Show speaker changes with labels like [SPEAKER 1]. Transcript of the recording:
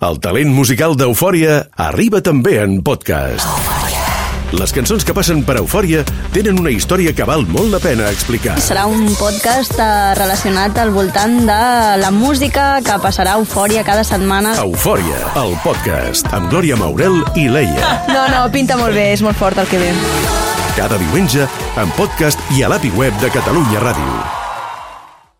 [SPEAKER 1] El talent musical d'Eufòria arriba també en podcast. Les cançons que passen per Eufòria tenen una història que val molt la pena explicar.
[SPEAKER 2] Serà un podcast eh, relacionat al voltant de la música que passarà eufòria cada setmana.
[SPEAKER 1] Eufòria, el podcast, amb Glòria Maurel i Leia.
[SPEAKER 3] No, no, pinta molt bé, és molt fort el que ve.
[SPEAKER 1] Cada diumenge, en podcast i a l'API web de Catalunya Ràdio.